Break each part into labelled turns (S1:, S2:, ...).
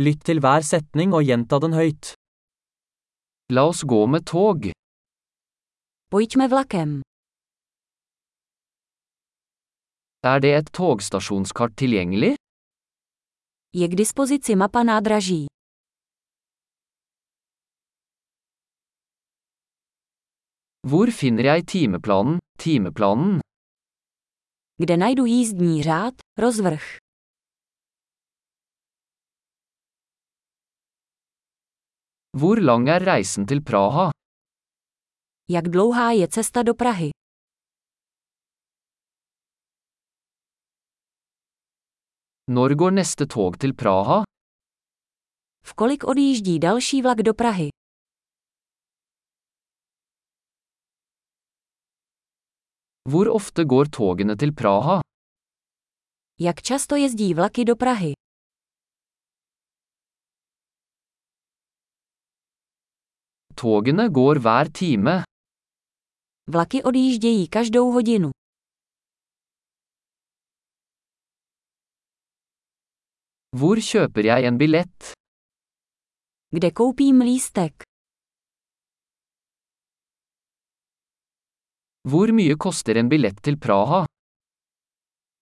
S1: Lytt til hver setning og gjenta den høyt. La oss gå med tog.
S2: Pojďme vlakem.
S1: Er det et togstasjonskart tilgjengelig?
S2: Je k dispozici mapa nádraží.
S1: Hvor finner jeg timeplanen, timeplanen?
S2: Kde najdu jízdní řád, rozvrh.
S1: Hvor lang er reisen til Praha?
S2: Jak dlouhá je cesta do Prahy?
S1: Når går neste tog til Praha?
S2: V kolik odjíždí další vlak do Prahy?
S1: Hvor ofte går togene til Praha?
S2: Jak často jezdí vlaky do Prahy?
S1: Togene går hver time.
S2: Vlaky odjíždějí každou hodinu.
S1: Hvor kjøper jeg en billett?
S2: Kde koupím lístek?
S1: Hvor mye koster en billett til Praha?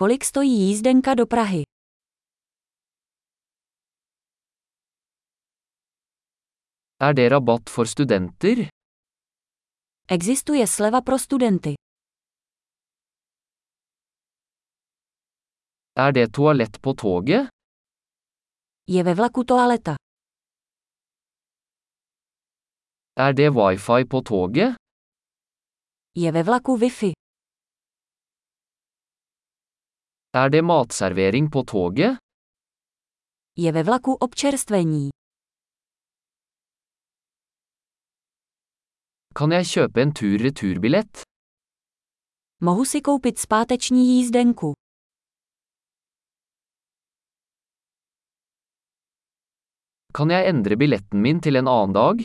S2: Kolik stojí jízdenka do Prahy?
S1: Er det rabatt for studenter?
S2: Existuje sleva pro studenty.
S1: Er det toalett på toget?
S2: Je ve vlaku toaleta.
S1: Er det wifi på toget?
S2: Je ve vlaku Wi-Fi.
S1: Er det matservering på toget?
S2: Je ve vlaku občerstvení.
S1: Kan jeg kjøpe en tur-returbillett?
S2: Mohu si koupit zpáteční jízdenku.
S1: Kan jeg endre billetten min til en annen dag?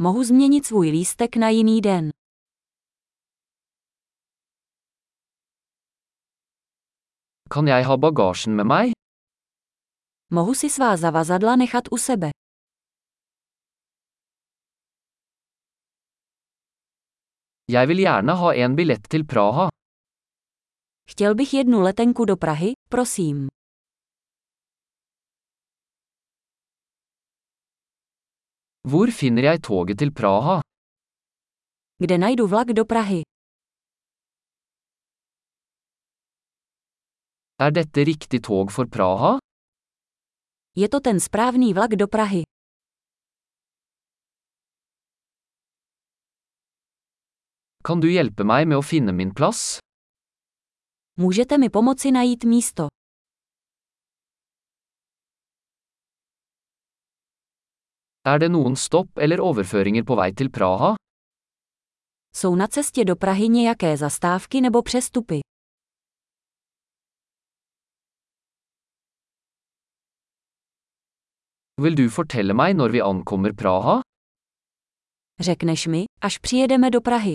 S2: Mohu změnit svůj lístek na jiný den.
S1: Kan jeg ha bagasjen med meg?
S2: Mohu si svá zavazadla nechat u sebe.
S1: Jeg vil gjerne ha en billett til Praha.
S2: Chtěl bych jednu letenku do Prahy, prosím.
S1: Hvor finner jeg toget til Praha?
S2: Kde najdu vlak do Prahy?
S1: Er dette riktig tog for Praha?
S2: Je to ten správný vlak do Prahy.
S1: Kan du hjelpe meg med å finne min plass?
S2: Můžete mi pomoci najít místo.
S1: Er det noen stopp eller overføringer på vei til Praha?
S2: Jsou na cestě do Prahy nějaké zastávky nebo přestupy?
S1: Vil du fortelle meg når vi ankommer Praha?
S2: Řekneš mi, až přijedeme do Prahy.